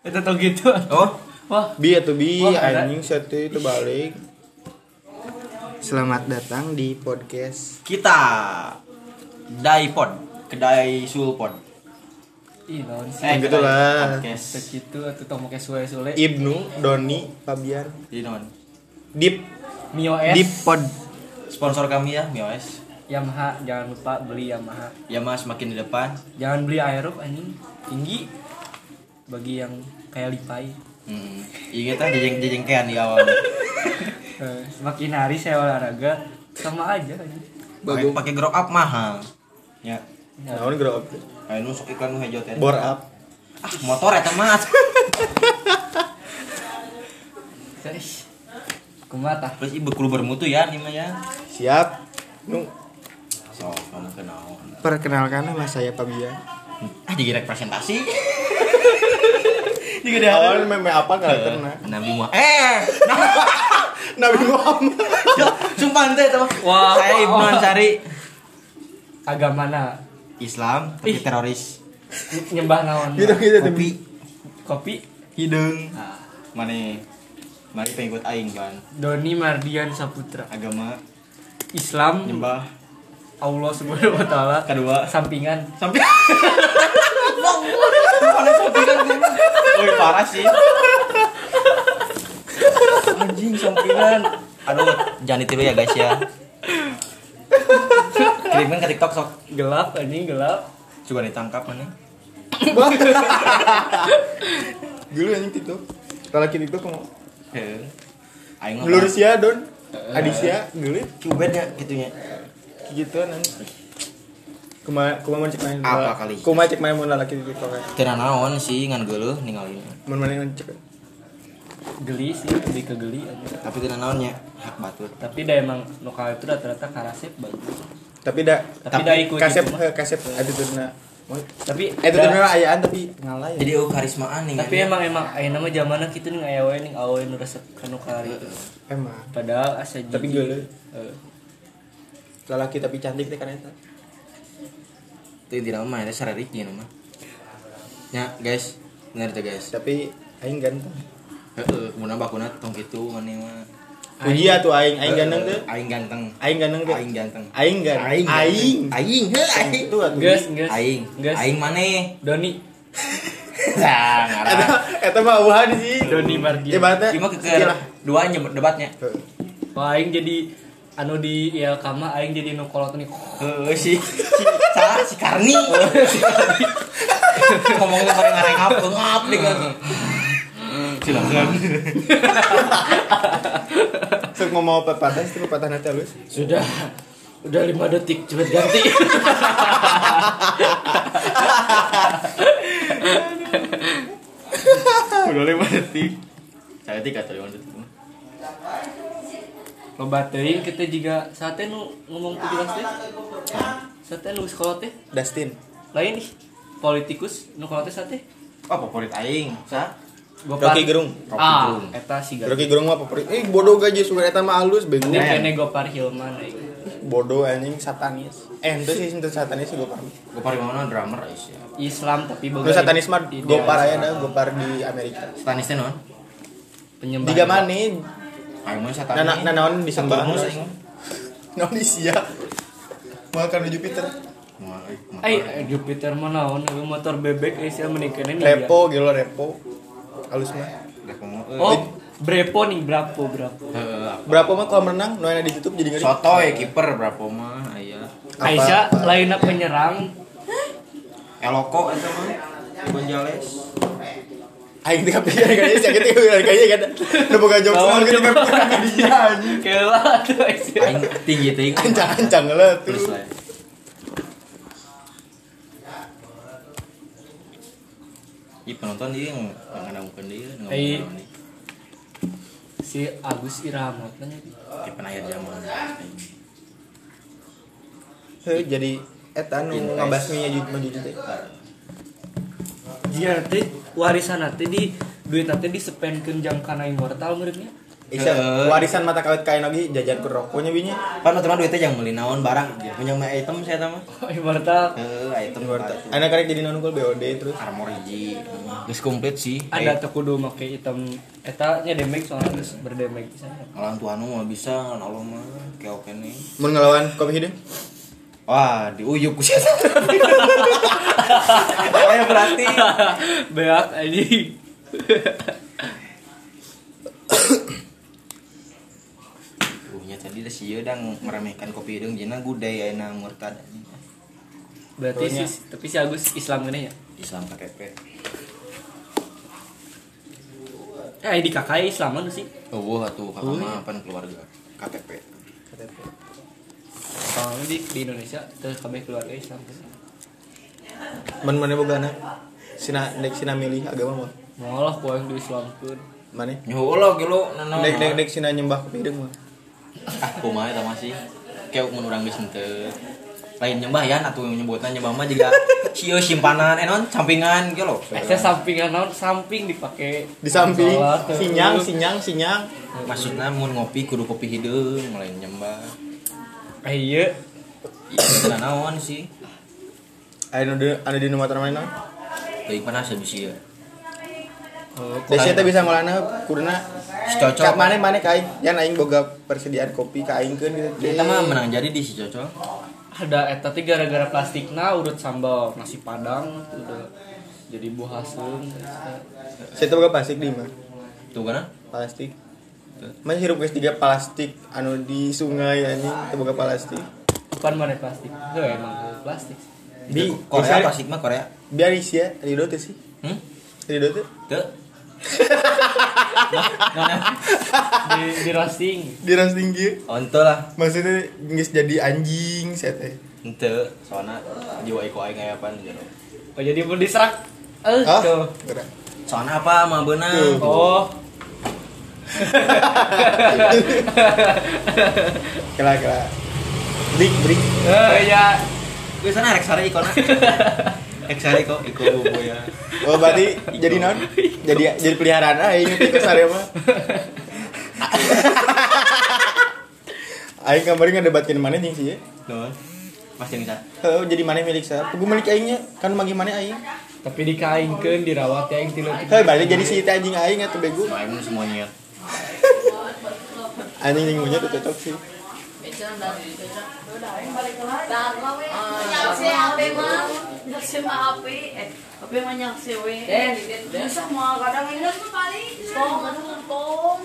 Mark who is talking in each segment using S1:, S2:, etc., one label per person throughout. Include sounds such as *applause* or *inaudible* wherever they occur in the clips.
S1: Itu tau gitu.
S2: Oh,
S1: Wah,
S3: Bi atau bi
S1: Wah, ada.
S3: anjing satu itu balik. Selamat datang di podcast
S2: kita Daipod, kedai sulpon.
S1: ih naon sih.
S2: Eh, Iya.
S3: gitu lah.
S2: Podcast.
S1: Segitu atau tau make suwe-suwe.
S3: Ibnu, Doni, Fabian,
S2: Jadi non.
S3: Dip,
S1: Mio
S3: Dip
S1: S.
S3: Pod.
S2: Sponsor kami ya, MiOS.
S1: Yamaha, jangan lupa beli Yamaha.
S2: Ya Mas makin di depan.
S1: Jangan beli Aerox anjing. Tinggi bagi yang kayak lipai.
S2: Hmm. Iya kita jejeng-jejengkean di awal.
S1: Eh, Semakin hari saya olahraga sama aja anjing.
S2: Pakai pakai grow up mahal. Ya.
S1: Ya,
S3: Naon grow Nah, up.
S2: Ayo nusuk iklan nu hejo teh.
S3: Bor up.
S2: Ah, motor eta Mas.
S1: terus. Kumata.
S2: Terus ibu kulu bermutu ya ini mah ya.
S3: Siap. Nu
S2: So, kamu kenal.
S3: perkenalkan nama saya Fabian.
S2: Ah, jadi representasi. *laughs* Jadi
S3: Awalnya meme apa
S2: Eh,
S3: karakternya?
S2: Nabi Muhammad. Eh,
S3: Nabi Muhammad.
S2: sumpah ente teman.
S1: Wah.
S2: saya Ibnu Ansari.
S1: Agama mana?
S2: Islam
S1: Ih.
S2: tapi teroris.
S1: Nyembah naon?
S3: Gitu gitu
S2: Kopi
S1: Kopi.
S2: hidung.
S1: Nah,
S2: Mana? Mari pengikut aing ban.
S1: Doni Mardian Saputra.
S2: Agama
S1: Islam
S2: nyembah
S1: Allah Subhanahu wa taala
S2: kedua
S1: sampingan
S2: sampai Mana sampingan sih? Woi parah sih. Anjing sampingan. Aduh, jangan ditiru ya guys ya. Kirimkan ke TikTok sok.
S1: gelap ini gelap
S2: Coba ditangkap mana?
S3: Dulu anjing itu. Kalau kita itu kamu
S2: Heeh. Aing mah
S3: Lurusia Don. Adisya, gelit
S2: cubet ya gitunya.
S3: gitu anjing. Kuma kuma mau cek main.
S2: Apa kali?
S3: Kuma cek main mau lalaki di TikTok. ya.
S2: Teu naon sih ngan geuleuh ninggalin.
S3: Mun mana yang cek.
S1: geli sih lebih ke geli aja.
S2: Tapi teu naon nya hak batur.
S1: tapi dah emang lokal itu rata-rata karasep bagus
S3: Tapi da
S1: tapi, dah ikut
S3: kasep
S1: gitu mah.
S3: eh, kasep attitude-na.
S1: tapi
S3: Attitude-na
S1: da-
S3: ayaan ya, tapi ngalay.
S2: Jadi eueuh karismaan nih.
S1: tapi emang emang eh, ayeuna mah zamanna kitu nih aya wae ning awe nu resep kanu kari
S3: Emang.
S1: padahal asa
S3: Tapi
S1: jijik. Eh,
S3: geuleuh.
S1: Heeh.
S3: Lalaki tapi cantik teh kan eta.
S2: teu tidak mah eta sarerik jeung mah. Nya guys, bener teh guys.
S3: Tapi aing ganteng.
S2: Heeh, mun bakuna tong kitu mane mah.
S3: Uji atuh aing aing ganteng teh.
S2: Aing ganteng.
S3: Aing ganteng teh.
S2: Aing ganteng.
S3: Aing ganteng. Aing.
S2: Aing. Heuh, Aing.
S3: Itu atuh.
S1: geus geus
S2: Aing.
S1: geus
S2: Aing maneh. *laughs*
S1: Doni
S2: Nah,
S3: Eta
S2: ngarang.
S3: eta mah uhan sih.
S1: Doni Mardian.
S3: Iya. Ibaratnya
S2: Cuma ke
S3: iyalah.
S2: dua aja debatnya.
S1: Wah, aing jadi anu di ILK mah aing jadi nu kolot nih
S2: Heeh si si salah si Karni. Ngomongnya pada ngarengap, ngap nih kan. Hmm, Silakan.
S3: Sok ngomong pepatah sih pepatah nanti halus.
S1: sudah udah lima detik cepet *laughs* ganti
S2: Udah lima detik. Saya tiga tadi waktu itu.
S1: loba teuing kita juga sate nu ngomong 17 teh sate nu sekolah teh
S3: Dustin.
S1: lain nih politikus nu kolot teh sate
S2: Apa Oh, favorit aing? Sa?
S1: gopat
S3: Rocky Gerung.
S1: ah
S2: Gerung.
S1: eta si gak
S3: Rocky Gerung mah favorit. Eh bodoh gaji sugar eta mah halus bego.
S1: ini kene gopar hilman aing.
S3: Bodoh anjing satanis. Eh itu sih itu satanis sih gopar.
S2: Gue paling mana drummer Aisyah.
S1: Islam tapi
S3: Lu
S1: boga
S3: satanis mah
S1: idealis.
S3: gopar aya dah gopar di Amerika.
S2: Stanis teh non.
S1: penyembah
S3: Tiga mane
S2: Aing mah satanis.
S3: Nana nanaon disembah.
S2: Saturnus aing.
S3: Naon isia. Makan di Jupiter.
S2: Mual, eh, motor.
S1: Eh, eh, Jupiter mah naon euy, motor bebek eh sia menikeun ini.
S3: Repo gitu loh, repo. Halus mah.
S2: Udah kamu, eh.
S1: Oh, brepo nih brapo brapo.
S2: Heeh, apa?
S3: Berapa mah kolam renang? Nu aya ditutup jadi ngeri.
S2: Sotoy eh, kiper berapa mah aya.
S3: Apa?
S1: Aisyah lainnya penyerang
S2: Eloko eh, eta mah. Gonjales.
S3: Aing teh kepikiran kayaknya sakit teh kepikiran kayaknya kan. Nu boga jokes
S1: Lawan
S3: mah gitu
S1: jokes.
S3: kepikiran di dia anjing.
S1: *laughs* Kela tuh Aisyah.
S2: Aing tinggi tinggi.
S3: Ancang-ancang lah tuh.
S2: Terus lah. Ih penonton dia nggak ada mungkin dia nggak
S1: Eh.
S2: mungkin dia.
S1: Si Agus Irama kan.
S2: Kayak penayar zaman.
S3: Heh, jadi eta nu
S2: Invest.
S3: ngabasmi ya maju teh.
S1: Iya, *laughs* Jia teh warisan teh di duit teh disependkeun jang kana immortal muridnya.
S3: Iksan,
S2: Heeh.
S3: warisan mata kawet kain lagi jajan kerokoknya binya.
S2: Pan utama duitnya yang beli naon barang, punya mah item saya tama.
S1: Ibaratnya
S2: Heeh, item
S3: Anak karek jadi naon gol BOD terus.
S2: armor hiji. Geus komplit sih.
S1: ada tuh kudu make item eta nya damage soalnya harus berdamage misalnya.
S2: Kalau tuan anu mah bisa, lawan Allah mah kayak oke nih.
S3: Mau ngelawan kopi hidung?
S2: Wah, diuyuk *laughs* ku sia. Apa yang berarti?
S3: *laughs*
S1: Beak aja.
S2: Uhnya tadi dah sieun dang meremehkan kopi hidung jeung gudai ayeuna murtad.
S1: Berarti
S3: Pokoknya.
S1: si, tapi si Agus Islam gini ya.
S2: Islam KTP.
S1: Eh di kakak Islam mana sih?
S2: Eueuh atuh kakak mah pan keluarga KTP.
S1: Soalnya di, di Indonesia terus kami keluarga Islam.
S3: Man mana boga anak? Sina dek sina milih agama mah.
S1: Malah kurang di Islam pun.
S3: Mana?
S2: Nyoho lo gelo nanaon.
S3: Dek dek dek sina nyembah kopi hidung mah.
S2: ah kumaha eta masih kayak mun urang geus henteu lain nyembah ya atuh nyebutna nyembah mah juga sieu simpanan enon sampingan ge lo
S1: Eh saya sampingan naon samping dipakai.
S3: Di samping
S1: Salat, terus.
S3: sinyang sinyang sinyang.
S2: maksudna mun ngopi kudu kopi hideung lain nyembah
S1: Eh iya.
S2: Iya, teu naon sih
S3: Ayo nu anu di nomor mana?
S2: teuing panas habis ieu
S1: Oh,
S3: Desi teh bisa ngolahna kurna
S2: cocok
S3: Cak mana mana kain yang aing boga persediaan kopi ka aing keun gitu.
S2: kita mah menang jadi di si cocok
S1: ada eta teh gara-gara plastikna urut sambal nasi padang tuh udah jadi buah hasil.
S3: Saya boga plastik di mah.
S2: tuh kan
S3: Plastik. Mana hirup guys tiga plastik anu di sungai anjing teu boga plastik.
S1: Bukan mana plastik. Heuh emang heuh, plastik.
S3: Di
S2: Korea
S3: biasa-
S2: plastik mah Korea
S3: Biar isi ya, Rido teh sih.
S2: hmm
S3: Rido teh
S2: teu
S1: Di, di roasting.
S3: di roasting kieu.
S2: onto lah
S3: Maksudnya geus jadi anjing eh. saya teh.
S2: henteu soalna jiwa iko aing aya pan jero
S1: Oh jadi mau diserak. Eh,
S3: Hah?
S1: tuh.
S3: Ah, Gerak.
S2: soalna apa mah beunang
S3: Tuh.
S2: *laughs*
S1: Oh.
S3: Kela kela. Brik brik.
S2: Oh,
S1: Eh ya.
S2: Gue sana Rexare Iko *laughs* nah. Rexare Iko, Iko ya. Boya.
S3: Oh berarti jadi non? Jadi jadi peliharaan aing teh kasar mah. Aing kemarin ngedebatkeun mana jeung sih.
S2: Tuh. Mas yang bisa.
S3: Heuh jadi mana milik saya? Pugu milik aingnya kan bagi mana aing?
S1: Tapi dikaingkeun dirawat ya yang tilu.
S3: Heuh balik jadi si teh anjing aing atuh bego.
S2: Main semuanya.
S3: Anjing jeung monyet teu cocok sih.
S4: Nyaksi api mah, nyaksi mah api, eh api mah nyaksi we. Bisa mah kadang ini paling. Kong, aduh kong.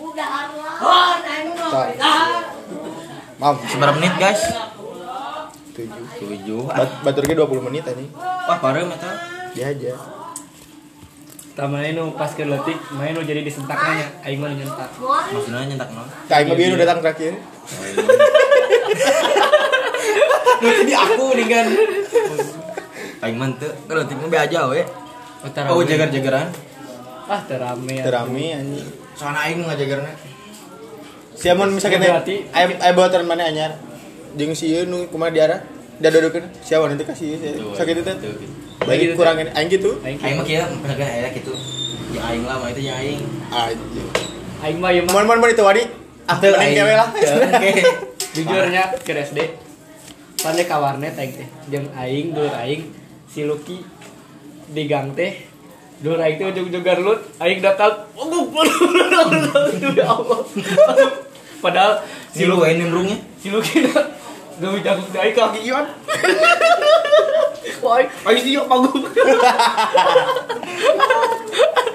S4: Budahar lah. Oh, nah ini mah
S3: Tak.
S4: budahar.
S3: Maaf,
S2: Seberapa menit guys?
S3: 7.
S2: Tujuh.
S3: Bat batur ge 20 menit anjing.
S2: Wah ya, parah mata.
S3: Dia aja.
S1: Tamane nu pas ke letik, main nu jadi disentaknya nya. Aing mah nu nyentak.
S2: Maksudnya nyentak *laughs* non.
S3: Kayak mah bieu nu datang terakhir.
S2: Nanti di aku dengan. Aing mantep. Kalau tipe be aja we.
S1: Oh, teu
S2: Oh
S1: rame.
S2: jagar-jagaran.
S1: Ah, terame ya.
S3: Teu rame anjing.
S2: Soalnya aing ngajagarna.
S3: Siamon misalkan
S1: Berarti-
S3: aya aya bawaan mana anyar. Jeung si ieu nu kumaha diarah? Da dodokeun siawan nanti kasih
S2: Tuh,
S3: sakit teh.
S2: tuh, gitu.
S3: Bagi kurangin aing gitu.
S1: Aing
S2: Aing mah kieu misalkan aya gitu. Ya aing lah mah itu yang aing.
S3: Anjing.
S1: aing mah ieu mah
S3: Mun mun mun itu wadi. Ah,
S2: Teu,
S3: mending gawe lah.
S2: *laughs* Oke.
S1: jujurnya ke SD. Pande ka warnet aing teh. Jeung aing dulur aing si Lucky di gang teh. Dulur aing teh ujug-ujug garlut, aing datang. Oh, *laughs* ya Allah. *laughs* Padahal
S2: Si lu aing nimbrungnya.
S1: Si Lucky dah Gak bisa aku dari kaki Iwan *laughs* Wah, ayo sih yuk panggung *laughs*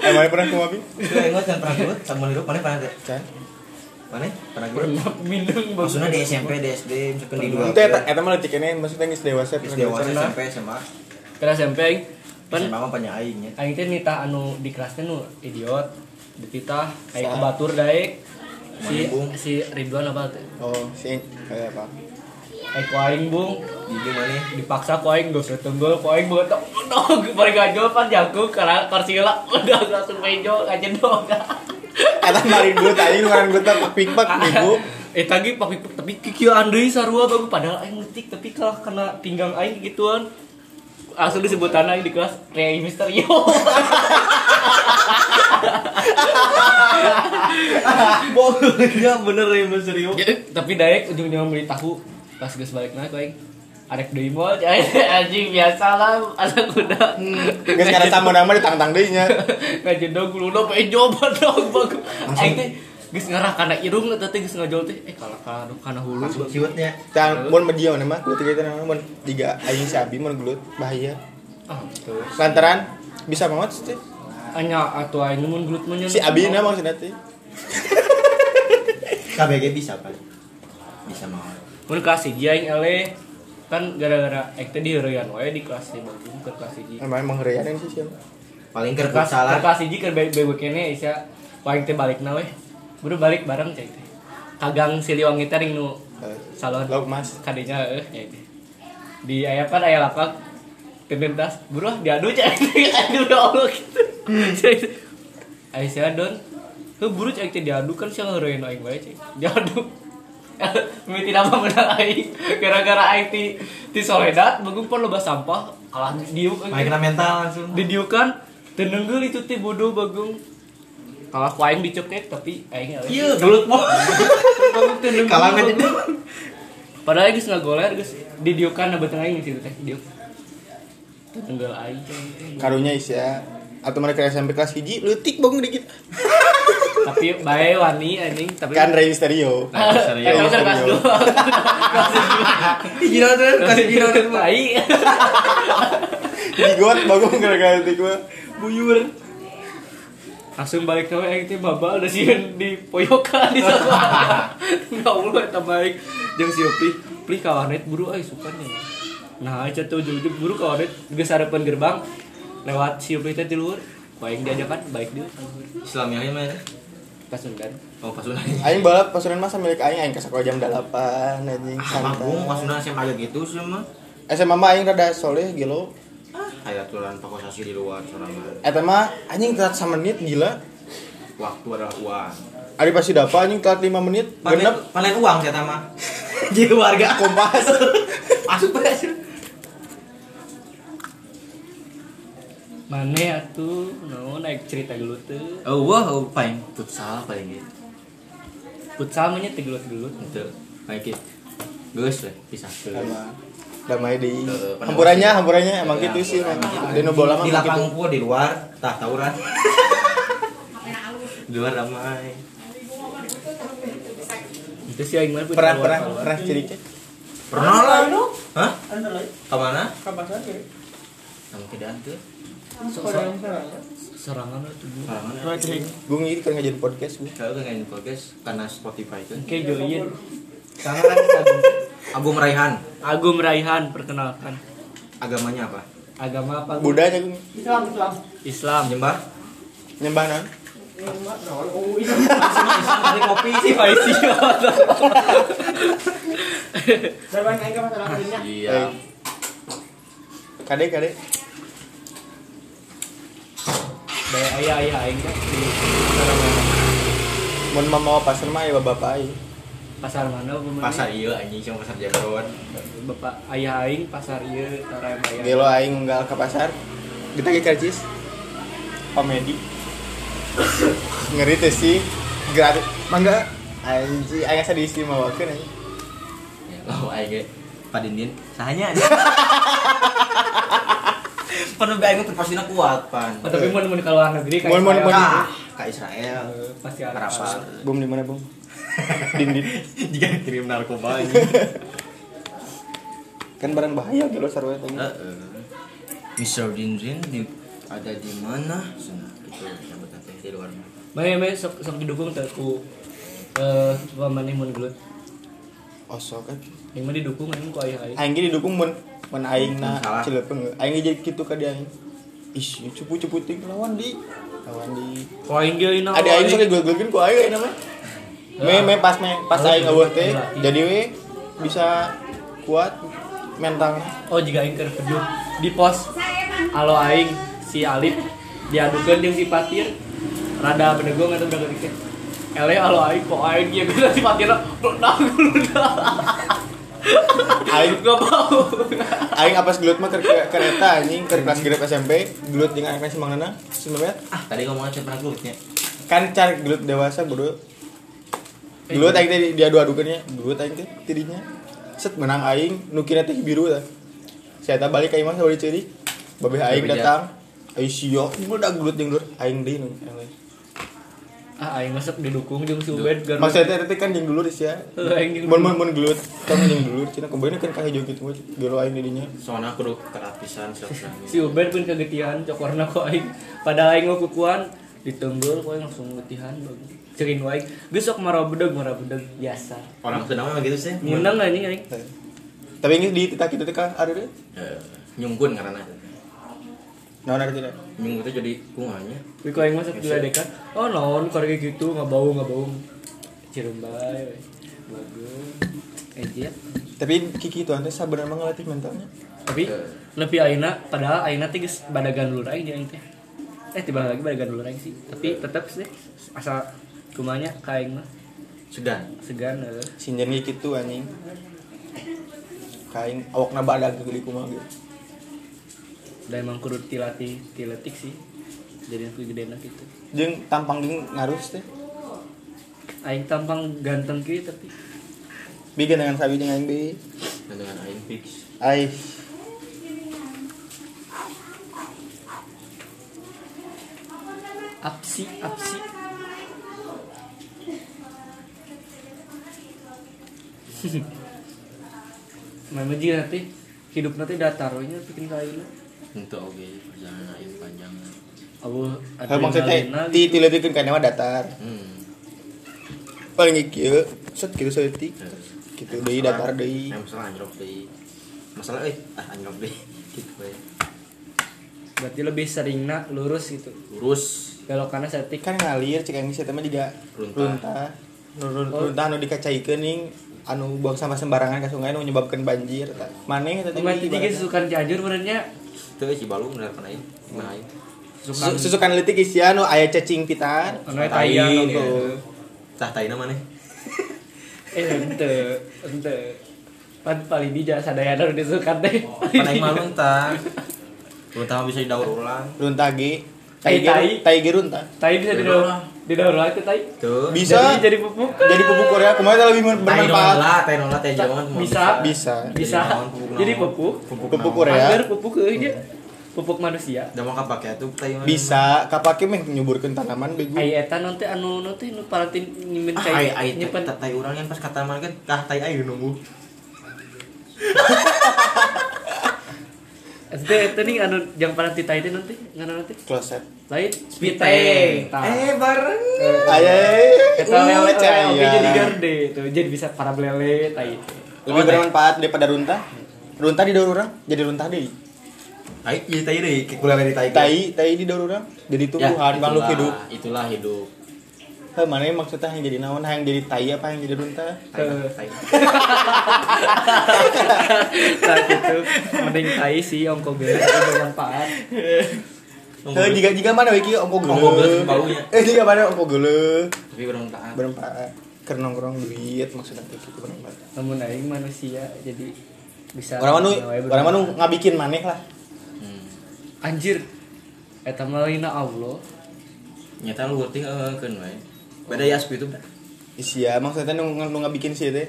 S3: Eh, mana pernah kumaha bi?
S2: Itu aing mah kan pernah gue sama lu mana pernah teh?
S3: Can.
S2: Mana? Pernah gue.
S1: Minum bang.
S2: Maksudnya di SMP, di SD, misalkan di dua.
S3: Itu eta eta mah leutik kene maksudnya geus dewasa
S2: Terus
S3: terus
S2: dewasa SMP SMA.
S1: Terus SMP aing Pan
S2: SMA mah banyak aingnya.
S1: Aing teh nita anu di kelasnya nu idiot Dititah Kayak kebatur daek Si,
S2: Bung.
S1: si Ridwan apa teh
S3: Oh, si kayak apa?
S1: Aing ku aing bung
S2: Jadi mana?
S1: Dipaksa ku aing gak usah tenggel Ku aing *laughs* banget Dog Mereka aja pan jago Karena korsila *laughs* Udah langsung mejo Aja dong *laughs*
S3: Eta mari gut aing ngaran gut pak pik pak ibu.
S1: Eh tadi papi tapi kikiu andai sarua bagus padahal aing ngetik tapi kalah kena pinggang aing gituan. Asal disebut aing di *laughs* kelas Rey Misterio.
S2: Iya bener ya bener serius.
S1: Ya, tapi daek ujung-ujungnya beli tahu pas geus balik naik aing arek deui mall cai. *laughs* anjing biasa lah anak kuda
S3: Hmm, Nggak
S1: *laughs*
S3: sekarang sama nama ditantang deh nya.
S1: ngajendong lulo pe joba dong bagus aing Eh, teh geus ngarah kana irung lah teh geus ngajol teh eh kalah kana kana hulu
S2: Langsung ciutnya.
S3: Can mun media mana mah dua tiga itu nama mun tiga aing si Abi mun gelut bahaya.
S1: ah betul
S3: Lantaran bisa banget sih.
S1: anya atuh aing mun gelut mun nyeun.
S3: Si Abi nama maksudnya teh.
S2: KBG bisa kan? Bisa mau.
S1: mun kelas 1 aing ele kan gara-gara aing teh diheurean wae di kelas 5 ke kelas 1
S3: Emang emang reanan sih sih.
S2: Paling
S1: ke kelas
S2: kerkas
S1: ke
S2: salah.
S1: kelas 1 ke BWK nya isya aing teh balik na weh buru balik bareng cai teh kagang siliwangi teh ring nu salon
S3: Lauk mas.
S1: kadenya eh ya itu. di ayah kan ayah lapak kedentas buruh diadu cek *laughs* diadu ya Allah
S2: *laughs*
S1: gitu ayah saya don ke buru cek teh diadu kan saya ngeroin aing bae cek diadu *laughs* Mimpi tidak menang aing gara-gara aing ti ti soledat begumpon loba sampah kalah diuk euy.
S2: Main kena mental langsung.
S1: didiukan tenenggel itu teh bodoh bagong kalah ku aing dicekek tapi eh, aing euy.
S2: Iya, gelut mau.
S1: Bangun tuh nunggu.
S2: Kalangan itu.
S1: Padahal geus ngagoler geus didiukan na beteng aing di situ teh diuk. Tenggal aing.
S3: Karunya Isya atau mereka SMP kelas hiji leutik bangun dikit
S1: Tapi bae wani anjing tapi
S3: kan Rey
S1: *laughs*
S3: Mysterio
S1: Eh,
S2: Serius.
S1: kalau kelas
S2: *laughs*
S3: serius.
S1: dua.
S2: Gila tuh, kasih gila tuh.
S1: Baik.
S3: di got bangun gara-gara leutik mah
S1: Buyur. Langsung balik ke aing teh babal da sieun di poyokan *laughs* di sana. Ya Allah eta baik. Jeung si Opi, "Pli ka warnet buru aya suka nih." Nah, aja tuh jujur buru ka warnet geus harapan gerbang lewat si Opi teh di luar. Baik diajakan, baik dia.
S2: Islamnya aja mana?
S1: Pas sundan.
S2: Oh, pasunan.
S3: aing balap pasunan masa milik aing aing ke sekolah jam 8 anjing
S2: Ah,
S3: santai
S2: manggung pasunan SMA aja gitu semua.
S3: SMA mah aing rada soleh gelo
S2: Ah, kayak aturan pakosasi di luar sorangan.
S3: Eta mah anjing telat sama menit gila.
S2: Waktu adalah uang.
S3: Ari pasti dapat anjing telat 5 menit.
S2: Panen,
S3: Genep
S2: panen uang saya tama. *laughs* Jadi keluarga.
S3: kompas.
S2: *laughs* Masuk berhasil.
S1: Mana atuh naon naik cerita gelut teh.
S2: Oh, wah, oh, paling futsal paling gitu.
S1: Futsal mah nya teh gelut-gelut.
S2: Itu kayak gitu. Geus lah, pisah ke.
S3: Damai di
S2: Eh, pada
S3: hampurannya,
S2: waktu-
S3: hampurannya emang
S2: Ya,
S3: gitu sih.
S2: emang
S3: emang.
S2: gitu.
S3: Di nu bola mah
S2: Di
S3: emang
S2: lapang
S3: gitu.
S2: unggul, di luar, tah *laughs* tawuran. di luar ramai.
S1: Itu sih aing mah
S3: Pernah pernah pernah ciri
S2: Pernah lah lu? Hah? Ke mana? Kamu tidak tuh.
S1: serangan atuh. buru.
S2: Kalangan.
S3: Gue ngiri kan ngajarin podcast gue.
S2: Kalau nggak info guys, karena Spotify itu.
S1: Oke, join.
S2: Kangen Agung Raihan,
S1: Agum Raihan perkenalkan.
S2: agamanya apa?
S1: Agama apa? Gu?
S3: Budanya gue
S1: Islam.
S2: Menyembah?
S3: nyembah naon?
S2: Islam kali kopi sih.
S1: Spicy banget.
S3: Eh,
S2: Iya.
S3: Kade kade.
S1: Bae aya aya aing teh di
S3: Mun mama apa pasar mah ya bapak aing.
S1: pasar mana pemene?
S2: Pasar iya anjing cuma pasar Jagoan.
S1: Bapak aya aing pasar ieu tarayam aya.
S3: Gelo aing nggal ke pasar. Kita ke karcis. Komedi. Ngeri teh sih. Gratis. Mangga. Anjing, aing asa diisi mawakeun anjing.
S2: Oh aing ge. Pak Dindin, sahanya *laughs* aja. Penuh aing prestasinya kuat pan.
S1: Oh, tapi mun mun ka luar negeri kan.
S3: Mun- mun- mun-
S2: Kah, ke Israel.
S1: pasti ada.
S2: *laughs* Kenapa?
S3: Bom di mana, Bom? Dindin.
S2: Jika dikirim narkoba ini.
S3: kan barang bahaya gitu sarwa tadi
S2: Heeh. Mr. Dindin di- ada di mana? Sana itu nyambut nanti di luar.
S1: Bae bae sok sok didukung teh ku eh pamaneh mun gelut.
S3: osok
S2: eh.
S3: kan
S1: Aing mah didukung aing ku aya aing.
S3: aing ge didukung mun mun aing na
S2: Salah.
S3: cilepeung aing ge jadi kitu ka dia aing ish cupu-cupu ting lawan di lawan di
S1: Ku aing ge ayeuna.
S3: ada aing sok geuleun ku aing ayeuna mah me me pas me pas
S1: Kalau
S3: aing eueuh teh
S1: berlatih.
S3: jadi we bisa kuat mental
S1: Oh jika aing keur video di pos alo aing si Alip diadukeun jeung si Patir rada bedegong atau udah ketik ele alo aing kok aing ieu geus si Patir bledang bledang
S3: aing
S1: enggak bau
S3: aing apas gelut mah ke ke- kereta anjing ke kelas grade SMP gelut jeung aing kelas Mang Nanang 9
S2: Ah, tadi ngomongnya cuma kulitnya.
S3: kan car gelut dewasa bodoh dulu tadi teh diadu adukannya dulu tadi teh tidinya set menang aing nu kira teh biru lah saya tak balik ke imah balik ceri babeh aing
S2: Babeh
S3: datang aing sio budak gelut jeung dur aing deui nu yang lain.
S1: ah aing masuk didukung jeung si Ubed Garut.
S3: maksudnya teh teh kan jeung dulu sia
S1: *laughs* aing jeung
S3: mun mun mun gelut kan jeung dulu cina kembali kan ka hijau gitu we gelo aing didinya
S2: soalnya aku udah kerapisan *laughs* siap-siap
S1: si Ubed pun kegetihan cok warna ku aing pada aing ngekukuan ditenggel ku aing langsung ngetihan cering ku aing geus sok marabedeg marabedeg biasa
S2: orang Sunda mah gitu sih
S1: ngineng anjing aing
S3: tapi ini di tita kita teh ka ada deh
S2: Eh, nyunggun karena
S3: naon Nah, ada tidak
S2: nyunggun itu jadi kunganya
S1: Kuy ku aing masuk dua dekat. Oh naon karek gitu ngabau ngabau. Cireum bae. we. Bagus. Eh, Ejet.
S3: tapi kiki itu anda sabar emang ngelatih mentalnya
S1: Tapi lebih aina padahal aina teh geus badagan dulur aing jeung aing teh. Eh tiba lagi badagan dulur aing sih. Tapi tetep sih asal kumanya ka aing mah
S2: sudah
S1: segan eh. heula.
S3: sinjen kiki itu anjing kain awakna badag geulik kumaha gitu
S1: Da emang kudu tilati tiletik sih. Jadi aku gedena gitu.
S3: jeung tampang jeung ngarus teh
S1: Aing tampang ganteng kieu tapi
S3: bikin dengan sabi jeung aing deui
S2: dan dengan aing fix
S3: aih
S1: apsi *laughs* apsi. Memang jin nanti hidup nanti datar we nya bikin kain.
S2: untuk oke perjalanan aing panjang
S1: Abu
S3: hal maksudna ti ti leutikeun ka mah datar
S2: hmm
S3: paling ieu set kitu saeutik kitu deui datar deui
S2: Yang masalah anjlok deui masalah eh ah anjlok deui *laughs* gitu we
S1: Berarti lebih sering nak lurus gitu.
S2: lurus
S1: Belokannya setik.
S3: kan ngalir cek aing sia teh mah juga
S2: Runtah.
S3: runtah Nu run- runtah anu dikacaikeun ning anu buang sampah sembarangan ka sungai anu menyebabkan banjir tah. maneh eta teh
S1: Cuma tiga
S3: ibaratna.
S1: sukan cianjur benernya.
S2: itu eh cibalu bener kan aing nah aing
S3: Su- susukan leutik isi anu aya cacing pitan
S1: Anu eta iya
S2: Tayang,
S1: gitu.
S2: ya. tah taina *laughs* maneh
S1: Eh ente ente. Pan paling bijak sadaya dari sukan teh.
S2: kan aing malu tah Runtah mah bisa didaur ulang
S3: runtah ge
S1: Tai-
S3: tai ge
S1: tai.
S3: tai ge runtah
S1: *laughs* Tai bisa didaur didaur lagi tai.
S2: tuh
S3: Bisa.
S1: Jadi jadi pupuk.
S3: jadi pupuk Korea kumaha teh lebih men-
S2: tai
S3: bermanfaat
S2: nolat tai nolat tai jaman mah
S1: Bisa.
S3: bisa
S1: Bisa.
S2: naon, pupuk naon.
S1: Jadi pupuk.
S3: pupuk
S2: naon.
S3: Korea
S1: Agar pupuk euy dia. Pupuk manusia.
S2: Da mah kapake atuh tai mah.
S3: bisa kapake meh nyuburkeun tanaman bego
S1: Ai eta nanti anu nanti nu paranti nyimpen
S2: Ah, ai
S1: cai
S2: ai
S1: nyimpen
S2: nyimpen tai urang yang pas kata kan? market tah tai ai nunggu.
S1: Ente eta nih anu jang paranti tai teh nanti ngana nanti
S3: kloset
S1: lain
S2: Piteng.
S1: Tah.
S2: Eh bareng.
S3: aya
S1: Eta lele
S3: cai
S1: oke
S3: ya.
S1: jadi Oh, garde tuh jadi bisa para lele tai.
S3: lebih bermanfaat daripada runtah runtah di daur urang jadi runtah deui
S2: Tai ieu tai deui kuliah dari tai.
S3: tai tai di daur urang jadi tumbuhan
S2: Ya,
S3: makhluk
S2: itulah-
S3: hidup
S2: Itulah hidup.
S3: heh mana yang maksudnya yang jadi naon yang jadi tai apa yang jadi runtah
S2: Tai.
S1: Eh.
S2: tai.
S1: Tah gitu. Mending tai sih ongko ge bermanfaat.
S2: Nunggu.
S3: heh jika jika mana wiki ongko geuleuh
S2: Ongko geuleuh, baunya.
S3: eh jika mana ongko geuleuh
S2: Tapi urang taat.
S3: bermanfaat keur nongkrong duit maksudnya teh kitu bermanfaat
S1: Namun aing manusia jadi bisa
S3: orang manu
S1: ngawe
S3: orang manu
S1: bermanfaat.
S3: ngabikin maneh lah
S2: Hmm.
S1: anjir eta mah lainna Allah.
S2: Nyata lu eh, worting eukeun we. Beda ya kan, aspi itu.
S3: Iya, maksudnya nu nu ngabikin sih teh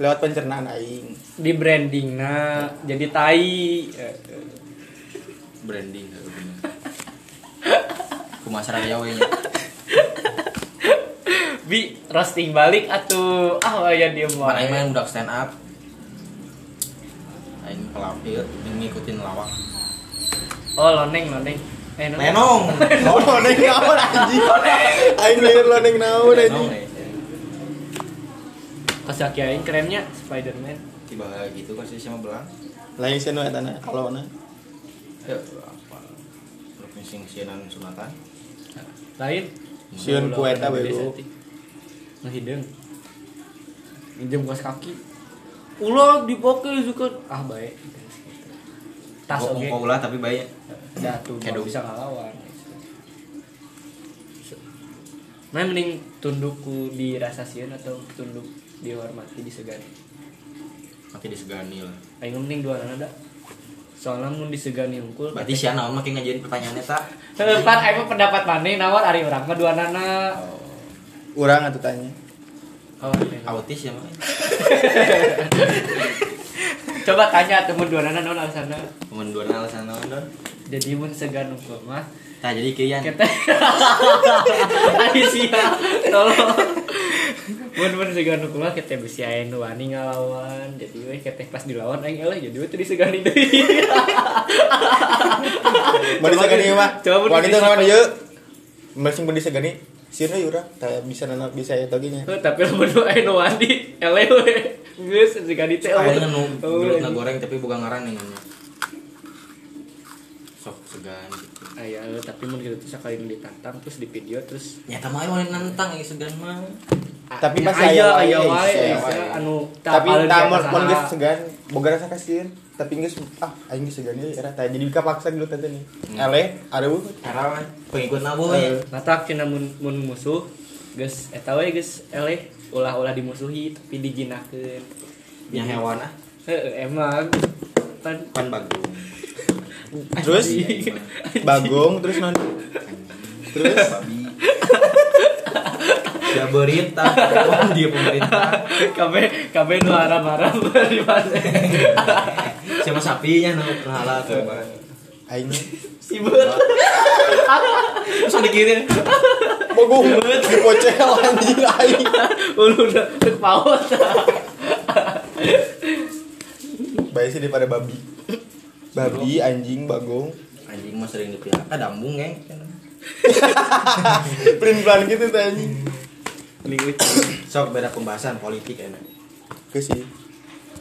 S3: lewat pencernaan *laughs* aing.
S1: di branding nah jadi tai Eh, eh.
S2: branding gitu. heuh, bener. Kumasaraya we nya.
S1: bi roasting balik atuh ah aya diem
S2: Mana
S1: wae
S2: aing main budak stand up. Aing pelapir ngikutin lawak.
S1: oh loneng loneng eh non.
S2: Lenong.
S3: Oh, neng naon anjing? Aing mikir lo neng naon
S2: Lenong.
S3: anjing.
S2: eh.
S1: kasaki aing kerennya Spiderman
S2: tiba gitu kan sih sama belang
S3: Lain sih nu eta na kalona.
S2: ya apa provinsi sianan sunatan
S1: lain
S3: Sieun ku eta
S1: Ulah,
S3: bego.
S1: udah ngehideung ngejem kos kaki ulah dipoke suka ah baik tas
S2: tas
S1: oke
S2: ulah tapi baik
S1: dah tuh nggak
S2: Kayak dong.
S1: bisa ngelawan Nah, mending tundukku dirasasian atau tunduk dihormati disegani.
S2: nanti disegani lah
S1: Aing mending dua nada. Soalnya mun disegani unggul.
S2: berarti si naon makin ngajarin pertanyaannya tak
S1: Tepat aing mah pendapat maneh nawar ari urang mah dua nana.
S2: oh.
S3: Urang atuh tanya.
S1: Oh,
S2: autis ya mah
S1: coba tanya temen dua nana non alasannya
S2: temen dua alasan naon don
S1: jadi mun segan ukur mah
S2: tah Nah, jadi kian
S1: kita *laughs* Aisyah tolong mun mun segan ukur mah kita bisa aya nu wani ngalawan jadi we kita pas dilawan aing eleh jadi we teu disegani deui *laughs*
S3: Mau disegani mah.
S1: Coba mun
S3: Wanita
S1: disegani.
S3: ngawan ieu. Masing mun disegani. Sieun euy urang, tah bisa nana bisa eta ge nya.
S1: Eh, tapi lamun nu aya nu wani eleh we geus disegani teh
S3: iya.
S2: Akhirnya nu
S1: Oh,
S2: gelut na
S1: anjing.
S2: goreng tapi bukan ngaran nih nanya. Sok segan gitu.
S1: Aya, eh, tapi mun kitu teh sakali nu ditantang terus di video terus
S2: Nyata mah ayo nantang yang segan mah.
S3: Tapi
S1: Ya,
S3: pas
S1: aya
S3: aya
S1: aya
S3: wae,
S1: wae
S3: aya
S1: aya
S3: wae.
S1: anu
S3: Tapi
S1: paling di
S3: tah mun
S1: atas
S3: mun geus
S1: sana.
S3: segan, boga rasa kasihan. Tapi geus ah aing geus segan ieu era tah jadi kapaksa gitu teh nih.
S1: Hmm.
S3: Eleh,
S1: *laughs*
S3: aduh.
S2: Karena mah pengikut nabu
S3: Eh,
S2: ya.
S1: Matak cina mun, mun musuh geus eta we geus eleh ulah-ulah dimusuhi tapi dijinakeun.
S2: Yang hewan ah.
S1: Heeh Eh, emang pan
S2: Kan bagus. Iya,
S3: Terus
S1: anjing.
S3: Bagong terus non terus
S2: Babi. Ya berita, dia pemerintah.
S1: kabeh kabeh nu haram-haram *laughs* di mana.
S2: Siapa ya, sapinya nu ngalah tuh. Bang.
S3: aing
S1: Si beut.
S2: Terus ada kirin.
S3: bagong dipocel anjing aing.
S1: Ulu udah teu paot.
S3: Bae sih daripada babi. Babi, anjing, bagong.
S2: Anjing mah sering dipihak. Ada dambung,
S3: *laughs*
S2: geng.
S3: Pelan-pelan gitu teh anjing.
S1: Linguis.
S2: Sok beda pembahasan politik enak.
S3: Ke sih.